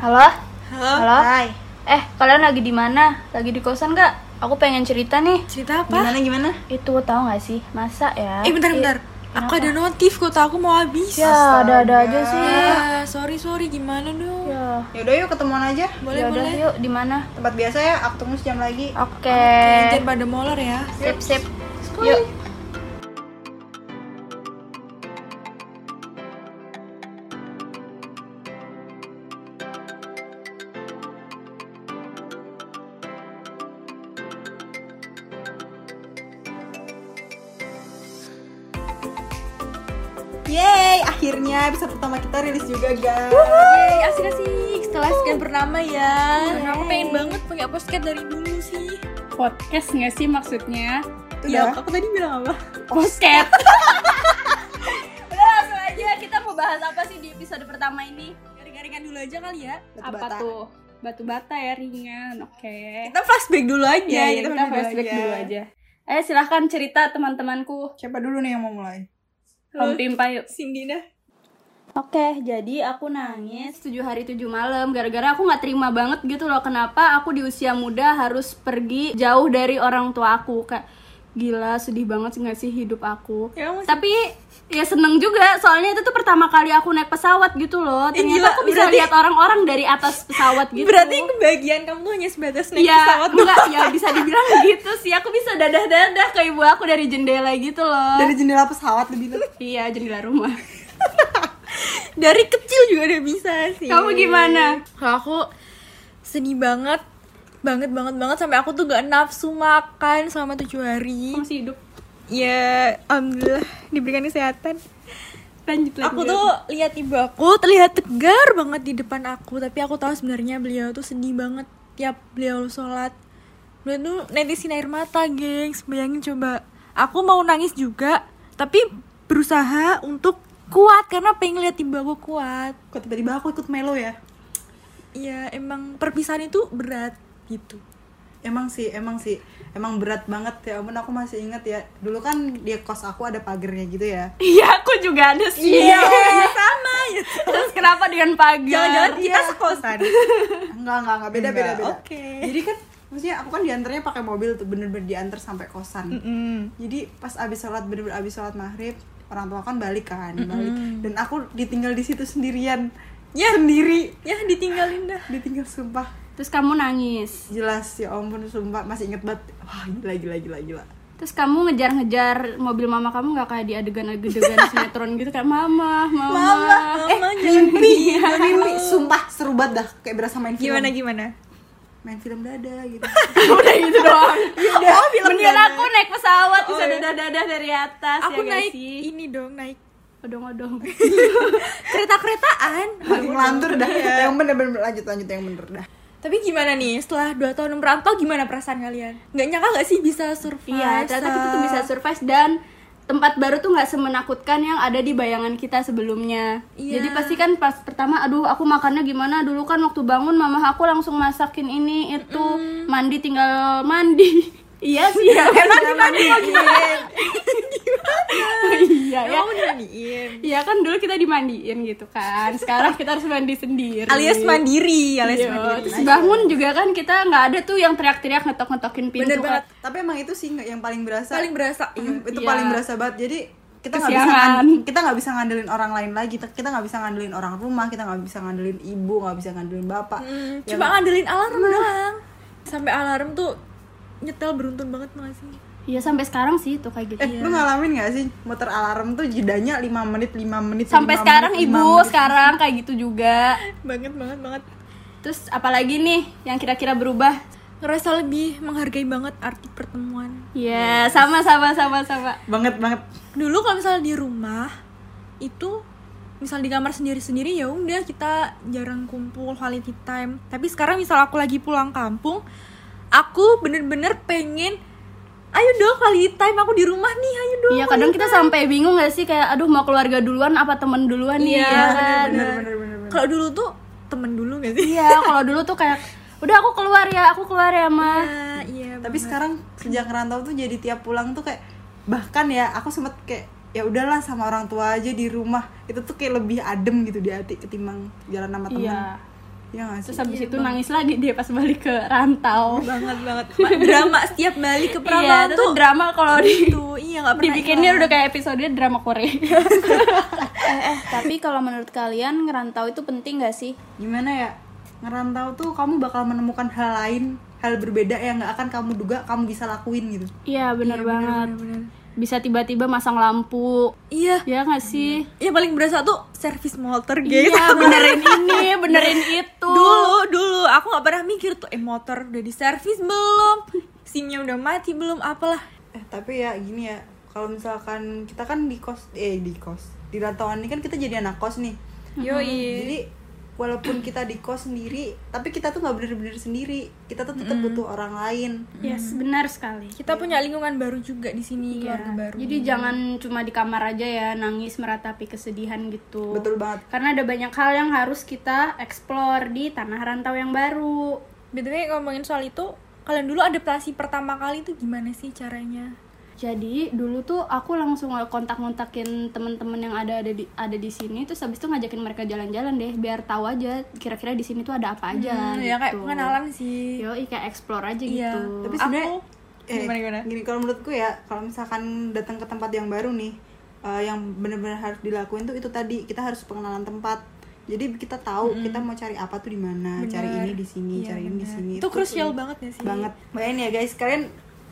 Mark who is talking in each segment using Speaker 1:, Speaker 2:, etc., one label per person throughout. Speaker 1: Halo?
Speaker 2: Halo.
Speaker 1: Halo?
Speaker 2: Hai.
Speaker 1: Eh, kalian lagi di mana? Lagi di kosan nggak? Aku pengen cerita nih.
Speaker 2: Cerita apa?
Speaker 3: Gimana gimana?
Speaker 1: Itu tahu nggak sih? Masa ya?
Speaker 2: Eh bentar
Speaker 1: I-
Speaker 2: bentar. Aku ada notif kota aku mau habis.
Speaker 1: Ya, ada-ada aja sih.
Speaker 2: Ya, sorry sorry gimana dong?
Speaker 1: Ya.
Speaker 3: Yaudah yuk ketemuan aja.
Speaker 2: Boleh
Speaker 1: Yaudah,
Speaker 2: boleh.
Speaker 1: yuk di mana?
Speaker 3: Tempat biasa ya, Aktungus jam lagi.
Speaker 1: Oke.
Speaker 2: Eh, Jangan pada molor ya.
Speaker 1: Sip, sip. Yuk.
Speaker 3: Yeay, akhirnya episode pertama kita rilis juga guys.
Speaker 2: Yeay, asik asik. Setelah sekian bernama ya. Aku pengen banget punya podcast dari dulu sih.
Speaker 4: podcast nggak sih maksudnya?
Speaker 3: Itu
Speaker 2: Ya,
Speaker 3: dah.
Speaker 2: aku tadi bilang apa?
Speaker 4: Podcast.
Speaker 2: Udah langsung aja kita mau bahas apa sih di episode pertama ini? Garing-garingan dulu aja kali ya.
Speaker 3: Batu
Speaker 4: Apa
Speaker 3: bata.
Speaker 4: tuh? Batu bata ya ringan. Oke.
Speaker 2: Kita flashback dulu aja.
Speaker 4: Ya, ya,
Speaker 3: kita
Speaker 4: kita
Speaker 3: dulu
Speaker 4: flashback
Speaker 3: aja.
Speaker 4: dulu aja. Ayo silahkan cerita teman-temanku.
Speaker 3: Siapa dulu nih yang mau mulai?
Speaker 4: Om Pimpa yuk.
Speaker 2: Cindy dah.
Speaker 4: Oke, jadi aku nangis 7 hari 7 malam gara-gara aku nggak terima banget gitu loh kenapa aku di usia muda harus pergi jauh dari orang tua aku kayak gila sedih banget nggak sih hidup aku.
Speaker 2: Ya, masih-
Speaker 4: Tapi ya seneng juga soalnya itu tuh pertama kali aku naik pesawat gitu loh.
Speaker 2: Ih,
Speaker 4: Ternyata
Speaker 2: gila,
Speaker 4: aku bisa
Speaker 2: berarti-
Speaker 4: lihat orang-orang dari atas pesawat gitu.
Speaker 2: Berarti yang kebahagiaan kamu tuh hanya sebatas naik
Speaker 4: ya,
Speaker 2: pesawat doang.
Speaker 4: enggak, ya bisa dibilang gitu sih. Aku bisa dadah-dadah ke ibu aku dari jendela gitu loh.
Speaker 3: Dari jendela pesawat lebih dulu.
Speaker 4: Iya, jendela rumah.
Speaker 2: dari kecil juga udah bisa sih
Speaker 4: Kamu gimana?
Speaker 2: kalau aku sedih banget banget banget banget sampai aku tuh gak nafsu makan selama tujuh hari
Speaker 4: Aku masih hidup.
Speaker 2: ya alhamdulillah diberikan kesehatan
Speaker 4: Lanjut lagi.
Speaker 2: aku tuh lihat ibu aku terlihat tegar banget di depan aku tapi aku tahu sebenarnya beliau tuh sedih banget tiap beliau sholat beliau tuh netesin air mata gengs bayangin coba aku mau nangis juga tapi berusaha untuk kuat karena pengen lihat ibu aku kuat
Speaker 3: Kok tiba-tiba aku ikut melo ya?
Speaker 2: Iya, emang perpisahan itu berat gitu.
Speaker 3: Emang sih, emang sih, emang berat banget ya. Ampun aku masih inget ya. Dulu kan di kos aku ada pagernya gitu ya.
Speaker 4: Iya, aku juga ada sih.
Speaker 2: Iya. sama ya.
Speaker 4: Terus kenapa dengan pagar?
Speaker 2: Jangan-jangan kita
Speaker 3: Iya.
Speaker 2: sekosan.
Speaker 3: Enggak, enggak, enggak beda, beda, beda.
Speaker 2: Enggak, oke.
Speaker 3: Jadi kan, maksudnya aku kan diantarnya pakai mobil tuh bener-bener diantar sampai kosan. jadi pas abis sholat bener-bener abis sholat maghrib orang tua kan balik kan balik dan aku ditinggal di situ sendirian
Speaker 2: Ya.
Speaker 3: sendiri
Speaker 2: Ya, ditinggalin dah.
Speaker 3: ditinggal sumpah
Speaker 4: Terus kamu nangis.
Speaker 3: jelas ya ampun sumpah masih inget banget wah gila gila gila gila
Speaker 4: Terus kamu ngejar-ngejar mobil mama kamu nggak kayak di adegan-adegan sinetron gitu kayak mama, mama.
Speaker 2: Mama, jangan
Speaker 3: mimpi mimpi
Speaker 2: Iya.
Speaker 3: sumpah seru banget dah kayak berasa main film
Speaker 2: Gimana gimana?
Speaker 3: main film dada gitu
Speaker 4: Udah gitu doang.
Speaker 2: Oh, film
Speaker 4: Mendingan
Speaker 2: dana.
Speaker 4: aku naik pesawat
Speaker 2: Oh,
Speaker 4: bisa
Speaker 2: iya.
Speaker 4: dadah-dadah dari atas ya
Speaker 2: Aku
Speaker 4: nggak
Speaker 2: naik
Speaker 4: sih.
Speaker 2: ini dong, naik
Speaker 4: Odong-odong.
Speaker 2: kereta-keretaan.
Speaker 3: makin ngelantur dah
Speaker 2: Iya.
Speaker 3: yang bener bener lanjut lanjut yang bener dah
Speaker 2: Tapi gimana nih, setelah 2 tahun merantau gimana perasaan kalian? Nggak nyangka nggak sih bisa survive?
Speaker 4: Iya, ternyata kita tuh
Speaker 2: se-
Speaker 4: bisa survive dan tempat baru tuh nggak semenakutkan yang ada di bayangan kita sebelumnya.
Speaker 2: Iya.
Speaker 4: Jadi pasti kan pas pertama, aduh aku makannya gimana dulu kan waktu bangun mama aku langsung masakin ini itu mandi tinggal mandi. iya sih ya. mandi mandi Iya ya.
Speaker 2: Kamu dimandiin.
Speaker 4: Iya kan dulu kita dimandiin gitu kan. Sekarang kita harus mandi sendiri.
Speaker 2: Alias mandiri, alias
Speaker 4: Iya,
Speaker 2: mandiri.
Speaker 4: Terus bangun juga kan kita nggak ada tuh yang teriak-teriak ngetok-ngetokin pintu. kan.
Speaker 2: Bener banget.
Speaker 3: tapi emang itu sih yang paling berasa
Speaker 2: Paling berasa.
Speaker 3: Mm, itu
Speaker 4: Iya.
Speaker 3: paling berasa banget jadi kita nggak bisa
Speaker 4: Kesiangan.
Speaker 3: ngan- kita nggak bisa ngandelin orang lain lagi kita kita nggak bisa ngandelin orang rumah kita nggak bisa ngandelin ibu nggak bisa ngandelin bapak
Speaker 2: Hmm,
Speaker 3: Yang-
Speaker 2: Cuma ngandelin alarm
Speaker 4: Nah.
Speaker 2: doang. Sampai alarm tuh nyetel beruntun banget nggak sih?
Speaker 4: Iya sampai sekarang sih tuh kayak gitu.
Speaker 3: eh lu ngalamin nggak sih muter alarm tuh jedanya 5 menit 5 menit
Speaker 4: sampai
Speaker 3: lima
Speaker 4: sekarang
Speaker 3: menit, lima
Speaker 4: ibu
Speaker 3: menit.
Speaker 4: sekarang kayak gitu juga
Speaker 2: Banget banget banget.
Speaker 4: terus apalagi nih yang kira-kira berubah
Speaker 2: Ngerasa lebih menghargai banget arti pertemuan.
Speaker 4: ya sama sama sama sama
Speaker 3: banget banget
Speaker 2: Dulu kalau misalnya di rumah itu misal di kamar sendiri-sendiri ya udah kita jarang kumpul quality time. Tapi sekarang misal aku lagi pulang kampung, aku bener-bener pengen ayo dong quality time aku di rumah nih ayo dong.
Speaker 4: Iya kadang kita sampai bingung gak sih kayak aduh mau keluarga duluan apa temen duluan nih
Speaker 2: Iya,
Speaker 4: ya kan?
Speaker 3: bener bener bener bener
Speaker 2: Kalau dulu tuh temen dulu gak sih?
Speaker 4: Iya kalau dulu tuh kayak udah aku keluar ya aku keluar ya ma
Speaker 2: Ah, iya.
Speaker 3: tapi sekarang sejak rantau tuh jadi tiap pulang tuh kayak bahkan ya aku sempet kayak ya udahlah sama orang tua aja di rumah itu tuh kayak lebih adem gitu di hati ketimbang jalan sama teman
Speaker 4: Iya
Speaker 3: ya nggak sih
Speaker 4: terus habis itu nangis lagi dia pas balik ke rantau
Speaker 2: banget banget Ma- drama setiap balik ke
Speaker 4: iya
Speaker 2: Prabawa
Speaker 4: itu
Speaker 2: tuh
Speaker 4: tuh drama kalau di
Speaker 2: itu iya nggak pernah
Speaker 4: dibikinnya udah kayak episode drama Korea
Speaker 1: Tapi kalau menurut kalian ngerantau itu penting gak sih?
Speaker 3: gimana ya ngerantau tuh kamu bakal menemukan hal lain hal berbeda yang nggak akan kamu duga kamu bisa lakuin gitu
Speaker 4: iya bener banget
Speaker 2: bener.
Speaker 4: bisa tiba-tiba masang lampu
Speaker 2: iya
Speaker 4: ya nggak sih
Speaker 2: yang paling berasa tuh service motor guys
Speaker 4: iya benerin ini benerin itu
Speaker 2: dulu dulu aku nggak pernah mikir tuh eh motor udah di servis belum simnya udah mati belum apalah
Speaker 3: eh tapi ya gini ya kalau misalkan kita kan di kos eh di kos di rantauan ini kan kita jadi anak kos nih
Speaker 2: yoi
Speaker 3: jadi walaupun kita di kos sendiri tapi kita tuh nggak bener-bener sendiri kita tuh tetap butuh orang lain
Speaker 4: yes benar sekali
Speaker 3: Iya.
Speaker 2: kita punya lingkungan baru juga di sini
Speaker 4: Iya.
Speaker 2: keluarga baru
Speaker 4: Jadi jangan cuma di kamar aja ya nangis meratapi kesedihan gitu.
Speaker 3: betul banget
Speaker 4: Karena ada banyak hal yang harus kita explore di tanah rantau yang baru.
Speaker 2: btw ngomongin soal itu kalian dulu adaptasi pertama kali tuh gimana sih caranya
Speaker 4: Jadi dulu tuh aku langsung kontak-kontakin temen-temen yang ada ada di ada di sini terus habis itu ngajakin mereka jalan-jalan deh biar tahu aja kira-kira di sini tuh ada apa aja.
Speaker 2: Hmm, ya kayak
Speaker 4: gitu.
Speaker 2: pengenalan sih
Speaker 3: Iya,
Speaker 4: Yo, kayak explore aja
Speaker 2: Iya.
Speaker 4: gitu.
Speaker 3: tapi
Speaker 2: Aku-
Speaker 3: sebenarnya eh,
Speaker 2: gimana, gimana?
Speaker 3: gini kalau menurutku ya kalau misalkan datang ke tempat yang baru nih eh, yang bener-bener harus dilakuin tuh itu tadi kita harus pengenalan tempat jadi kita tahu kita mau cari apa tuh di mana cari ini di sini
Speaker 2: Iya,
Speaker 3: cari ini di
Speaker 2: bener.
Speaker 3: sini
Speaker 2: itu krusial banget ya sih
Speaker 3: banget bayangin ya guys kalian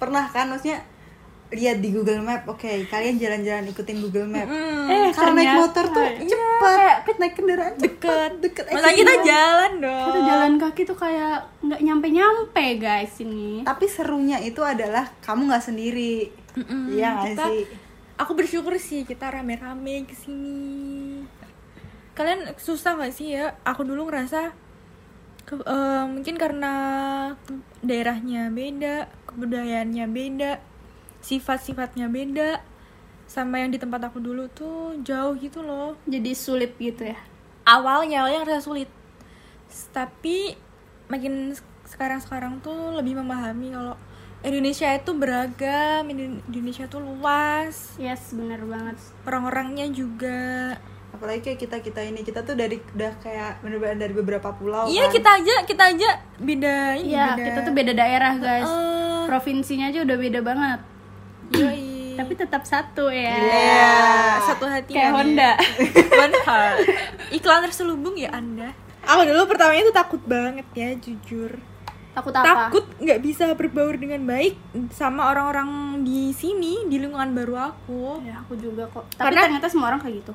Speaker 3: pernah kan maksudnya lihat di Google Map oke kalian jalan-jalan ikutin Google Map eh, karena naik motor tuh
Speaker 2: iya,
Speaker 3: cepet naik kendaraan cepet deket
Speaker 2: masa kita jalan dong
Speaker 4: Kita jalan kaki tuh kayak nggak nyampe-nyampe guys ini.
Speaker 3: tapi serunya itu adalah kamu nggak sendiri iya nggak
Speaker 2: kita
Speaker 3: sih
Speaker 2: aku bersyukur sih kita rame-rame kesini kalian susah gak sih ya aku dulu ngerasa ke- eh, mungkin karena ke- daerahnya beda kebudayaannya beda sifat-sifatnya beda sama yang di tempat aku dulu tuh jauh gitu loh
Speaker 4: Jadi sulit gitu ya.
Speaker 2: awalnya awalnya ngerasa sulit S- tapi makin s- sekarang-sekarang tuh lebih memahami kalau Indonesia itu beragam Indo- Indonesia tuh luas
Speaker 4: Yes, bener banget.
Speaker 2: orang-orangnya juga
Speaker 3: apalagi kayak kita kita ini kita tuh dari udah kayak bener-bener dari beberapa pulau
Speaker 2: iya
Speaker 3: kan.
Speaker 2: kita aja kita aja beda ini
Speaker 4: Iya,
Speaker 2: beda
Speaker 4: kita tuh beda daerah, guys.
Speaker 2: Eh,
Speaker 4: Provinsinya aja udah beda banget.
Speaker 2: yoi.
Speaker 4: Tapi tetap satu ya.
Speaker 2: Ya, satu hati
Speaker 4: Kayak
Speaker 2: kami.
Speaker 4: Honda.
Speaker 2: One heart. iklan terselubung ya anda aku dulu pertamanya tuh takut banget ya jujur
Speaker 4: Takut apa?
Speaker 2: takut nggak bisa berbaur dengan baik sama orang-orang di sini di lingkungan baru aku
Speaker 4: Ya, aku juga kok. Tapi
Speaker 2: Karena-
Speaker 4: ternyata semua orang kayak gitu.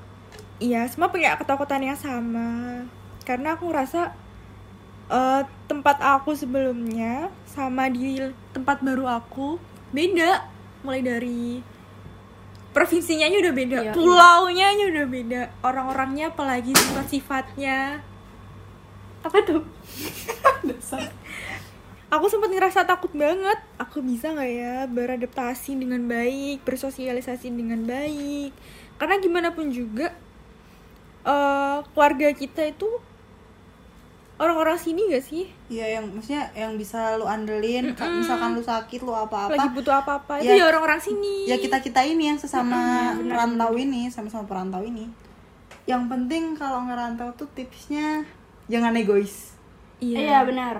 Speaker 2: Iya, semua punya ketakutan yang sama. Karena aku ngerasa eh, tempat aku sebelumnya sama di tempat baru aku beda. Mulai dari provinsinya aja udah beda,
Speaker 4: Iya,
Speaker 2: pulaunya aja udah beda, orang-orangnya apalagi sifat-sifatnya. Apa tuh? aku sempat ngerasa takut banget. Aku bisa nggak ya beradaptasi dengan baik, bersosialisasi dengan baik. Karena gimana pun juga eh, keluarga kita itu orang-orang sini gak sih?
Speaker 3: iya yang maksudnya yang bisa lu andelin ka- misalkan lu sakit lu apa-apa
Speaker 2: Lagi butuh apa-apa itu
Speaker 3: Ya.
Speaker 2: ya orang-orang sini.
Speaker 3: ya kita kita ini yang sesama perantau ini sama-sama perantau ini yang penting kalau ngerantau tuh tipsnya jangan egois
Speaker 2: Iya.
Speaker 4: Iya, benar.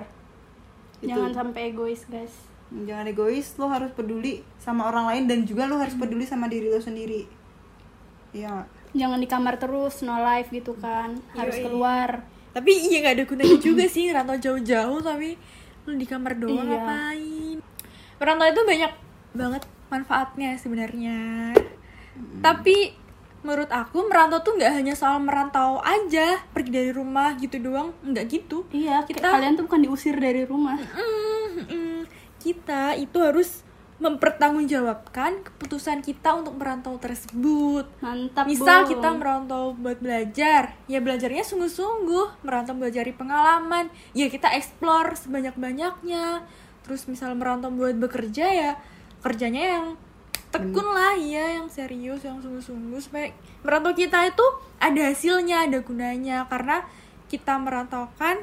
Speaker 4: Jangan sampai egois, guys.
Speaker 3: jangan egois lo harus peduli sama orang lain dan juga lo harus peduli sama diri lo sendiri ya
Speaker 4: Jangan di kamar terus, no life gitu kan. Harus
Speaker 2: Yoi.
Speaker 4: keluar.
Speaker 2: Tapi iya nggak ada gunanya juga sih ngerantau jauh-jauh tapi lu di kamar doang
Speaker 4: Iya.
Speaker 2: ngapain? Merantau itu banyak banget manfaatnya sebenarnya. Tapi menurut aku merantau tuh nggak hanya soal merantau aja, pergi dari rumah gitu doang, nggak gitu.
Speaker 4: Iya, kita
Speaker 2: Kita-
Speaker 4: kalian tuh bukan diusir dari rumah.
Speaker 2: Mm-mm. kita itu harus mempertanggungjawabkan keputusan kita untuk merantau tersebut.
Speaker 4: Mantap, Bung.
Speaker 2: Misal kita merantau buat belajar, ya belajarnya sungguh-sungguh, merantau belajar pengalaman, ya kita explore sebanyak-banyaknya. Terus misal merantau buat bekerja ya kerjanya yang
Speaker 4: Hmm.
Speaker 2: tekun lah ya, yang serius, yang sungguh-sungguh supaya merantau kita itu ada hasilnya, ada gunanya karena kita merantaukan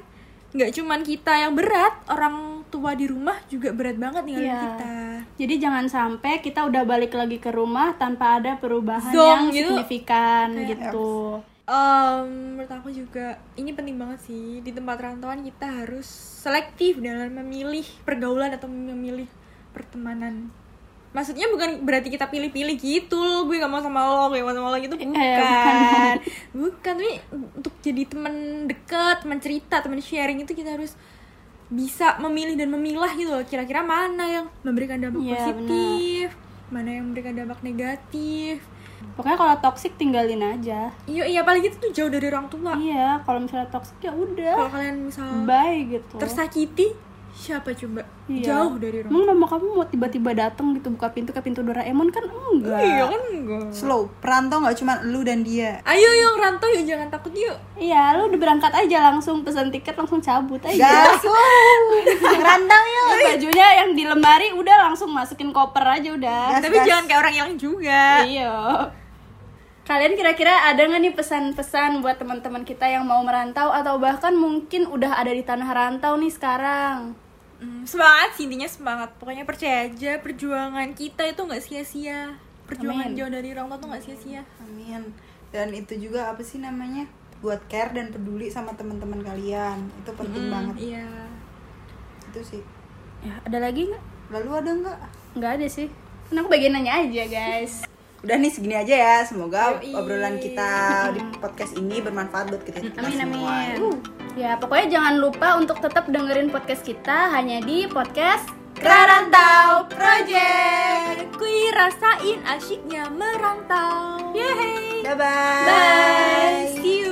Speaker 2: nggak cuman kita yang berat, orang tua di rumah juga berat banget ninggalin
Speaker 4: Iya.
Speaker 2: kita.
Speaker 4: Jadi jangan sampai kita udah balik lagi ke rumah tanpa ada perubahan yang
Speaker 2: Dong, gitu.
Speaker 4: signifikan
Speaker 2: Kayak,
Speaker 4: gitu.
Speaker 2: Em, menurut aku juga ini penting banget sih di tempat rantauan kita harus selektif dalam memilih pergaulan atau memilih pertemanan. Maksudnya bukan berarti kita pilih-pilih gitu loh, gue gak mau sama lo, gue gak mau sama lo gitu bukan. bukan. tapi untuk jadi teman dekat, teman cerita, teman sharing itu kita harus bisa memilih dan memilah gitu loh kira-kira mana yang memberikan dampak
Speaker 4: Iya,
Speaker 2: positif, mana yang memberikan dampak negatif.
Speaker 4: Pokoknya kalau toksik tinggalin aja.
Speaker 2: Iya, iya apalagi itu tuh jauh dari orang tua.
Speaker 4: Iya, kalau misalnya toksik ya
Speaker 2: Kalau
Speaker 4: udah.
Speaker 2: kalian misal
Speaker 4: Bye gitu.
Speaker 2: tersakiti siapa coba
Speaker 4: Iya.
Speaker 2: jauh dari rumah
Speaker 4: Emang mama kamu mau tiba-tiba datang gitu buka pintu ke pintu Doraemon kan enggak.
Speaker 2: iya kan enggak
Speaker 3: slow perantau nggak cuma lu dan dia
Speaker 2: ayo yuk rantau yuk jangan takut yuk
Speaker 4: Iya, lu udah berangkat aja langsung pesan tiket langsung cabut
Speaker 2: Iya.
Speaker 4: aja.
Speaker 3: gas rantau yuk
Speaker 4: Lu bajunya yang di lemari udah langsung masukin koper aja udah.
Speaker 3: Gas,
Speaker 2: tapi
Speaker 3: gas.
Speaker 2: jangan kayak orang yang juga
Speaker 4: Iya. Kalian kira-kira ada nggak nih pesan-pesan buat teman-teman kita yang mau merantau atau bahkan mungkin udah ada di tanah rantau nih sekarang?
Speaker 2: Hmm, semangat sih intinya semangat pokoknya percaya aja perjuangan kita itu nggak sia-sia
Speaker 4: Amin.
Speaker 2: perjuangan jauh dari orang tua tuh nggak sia-sia
Speaker 3: amin dan itu juga apa sih namanya buat care dan peduli sama teman-teman kalian itu penting banget
Speaker 2: iya
Speaker 3: itu sih
Speaker 4: Ya, ada lagi nggak?
Speaker 3: lalu ada nggak
Speaker 4: Nggak ada sih. Kan aku bagian nanya aja guys.
Speaker 3: udah nih segini aja ya semoga
Speaker 2: Yoi.
Speaker 3: obrolan kita di podcast ini bermanfaat buat kita, kita
Speaker 4: Amin
Speaker 3: semua
Speaker 4: amin. Ya pokoknya jangan lupa untuk tetap dengerin podcast kita hanya di podcast
Speaker 3: Kerantau Project
Speaker 2: kui rasain asyiknya merantau
Speaker 4: Yeay.
Speaker 3: bye
Speaker 4: Bye.
Speaker 3: bye
Speaker 4: See you.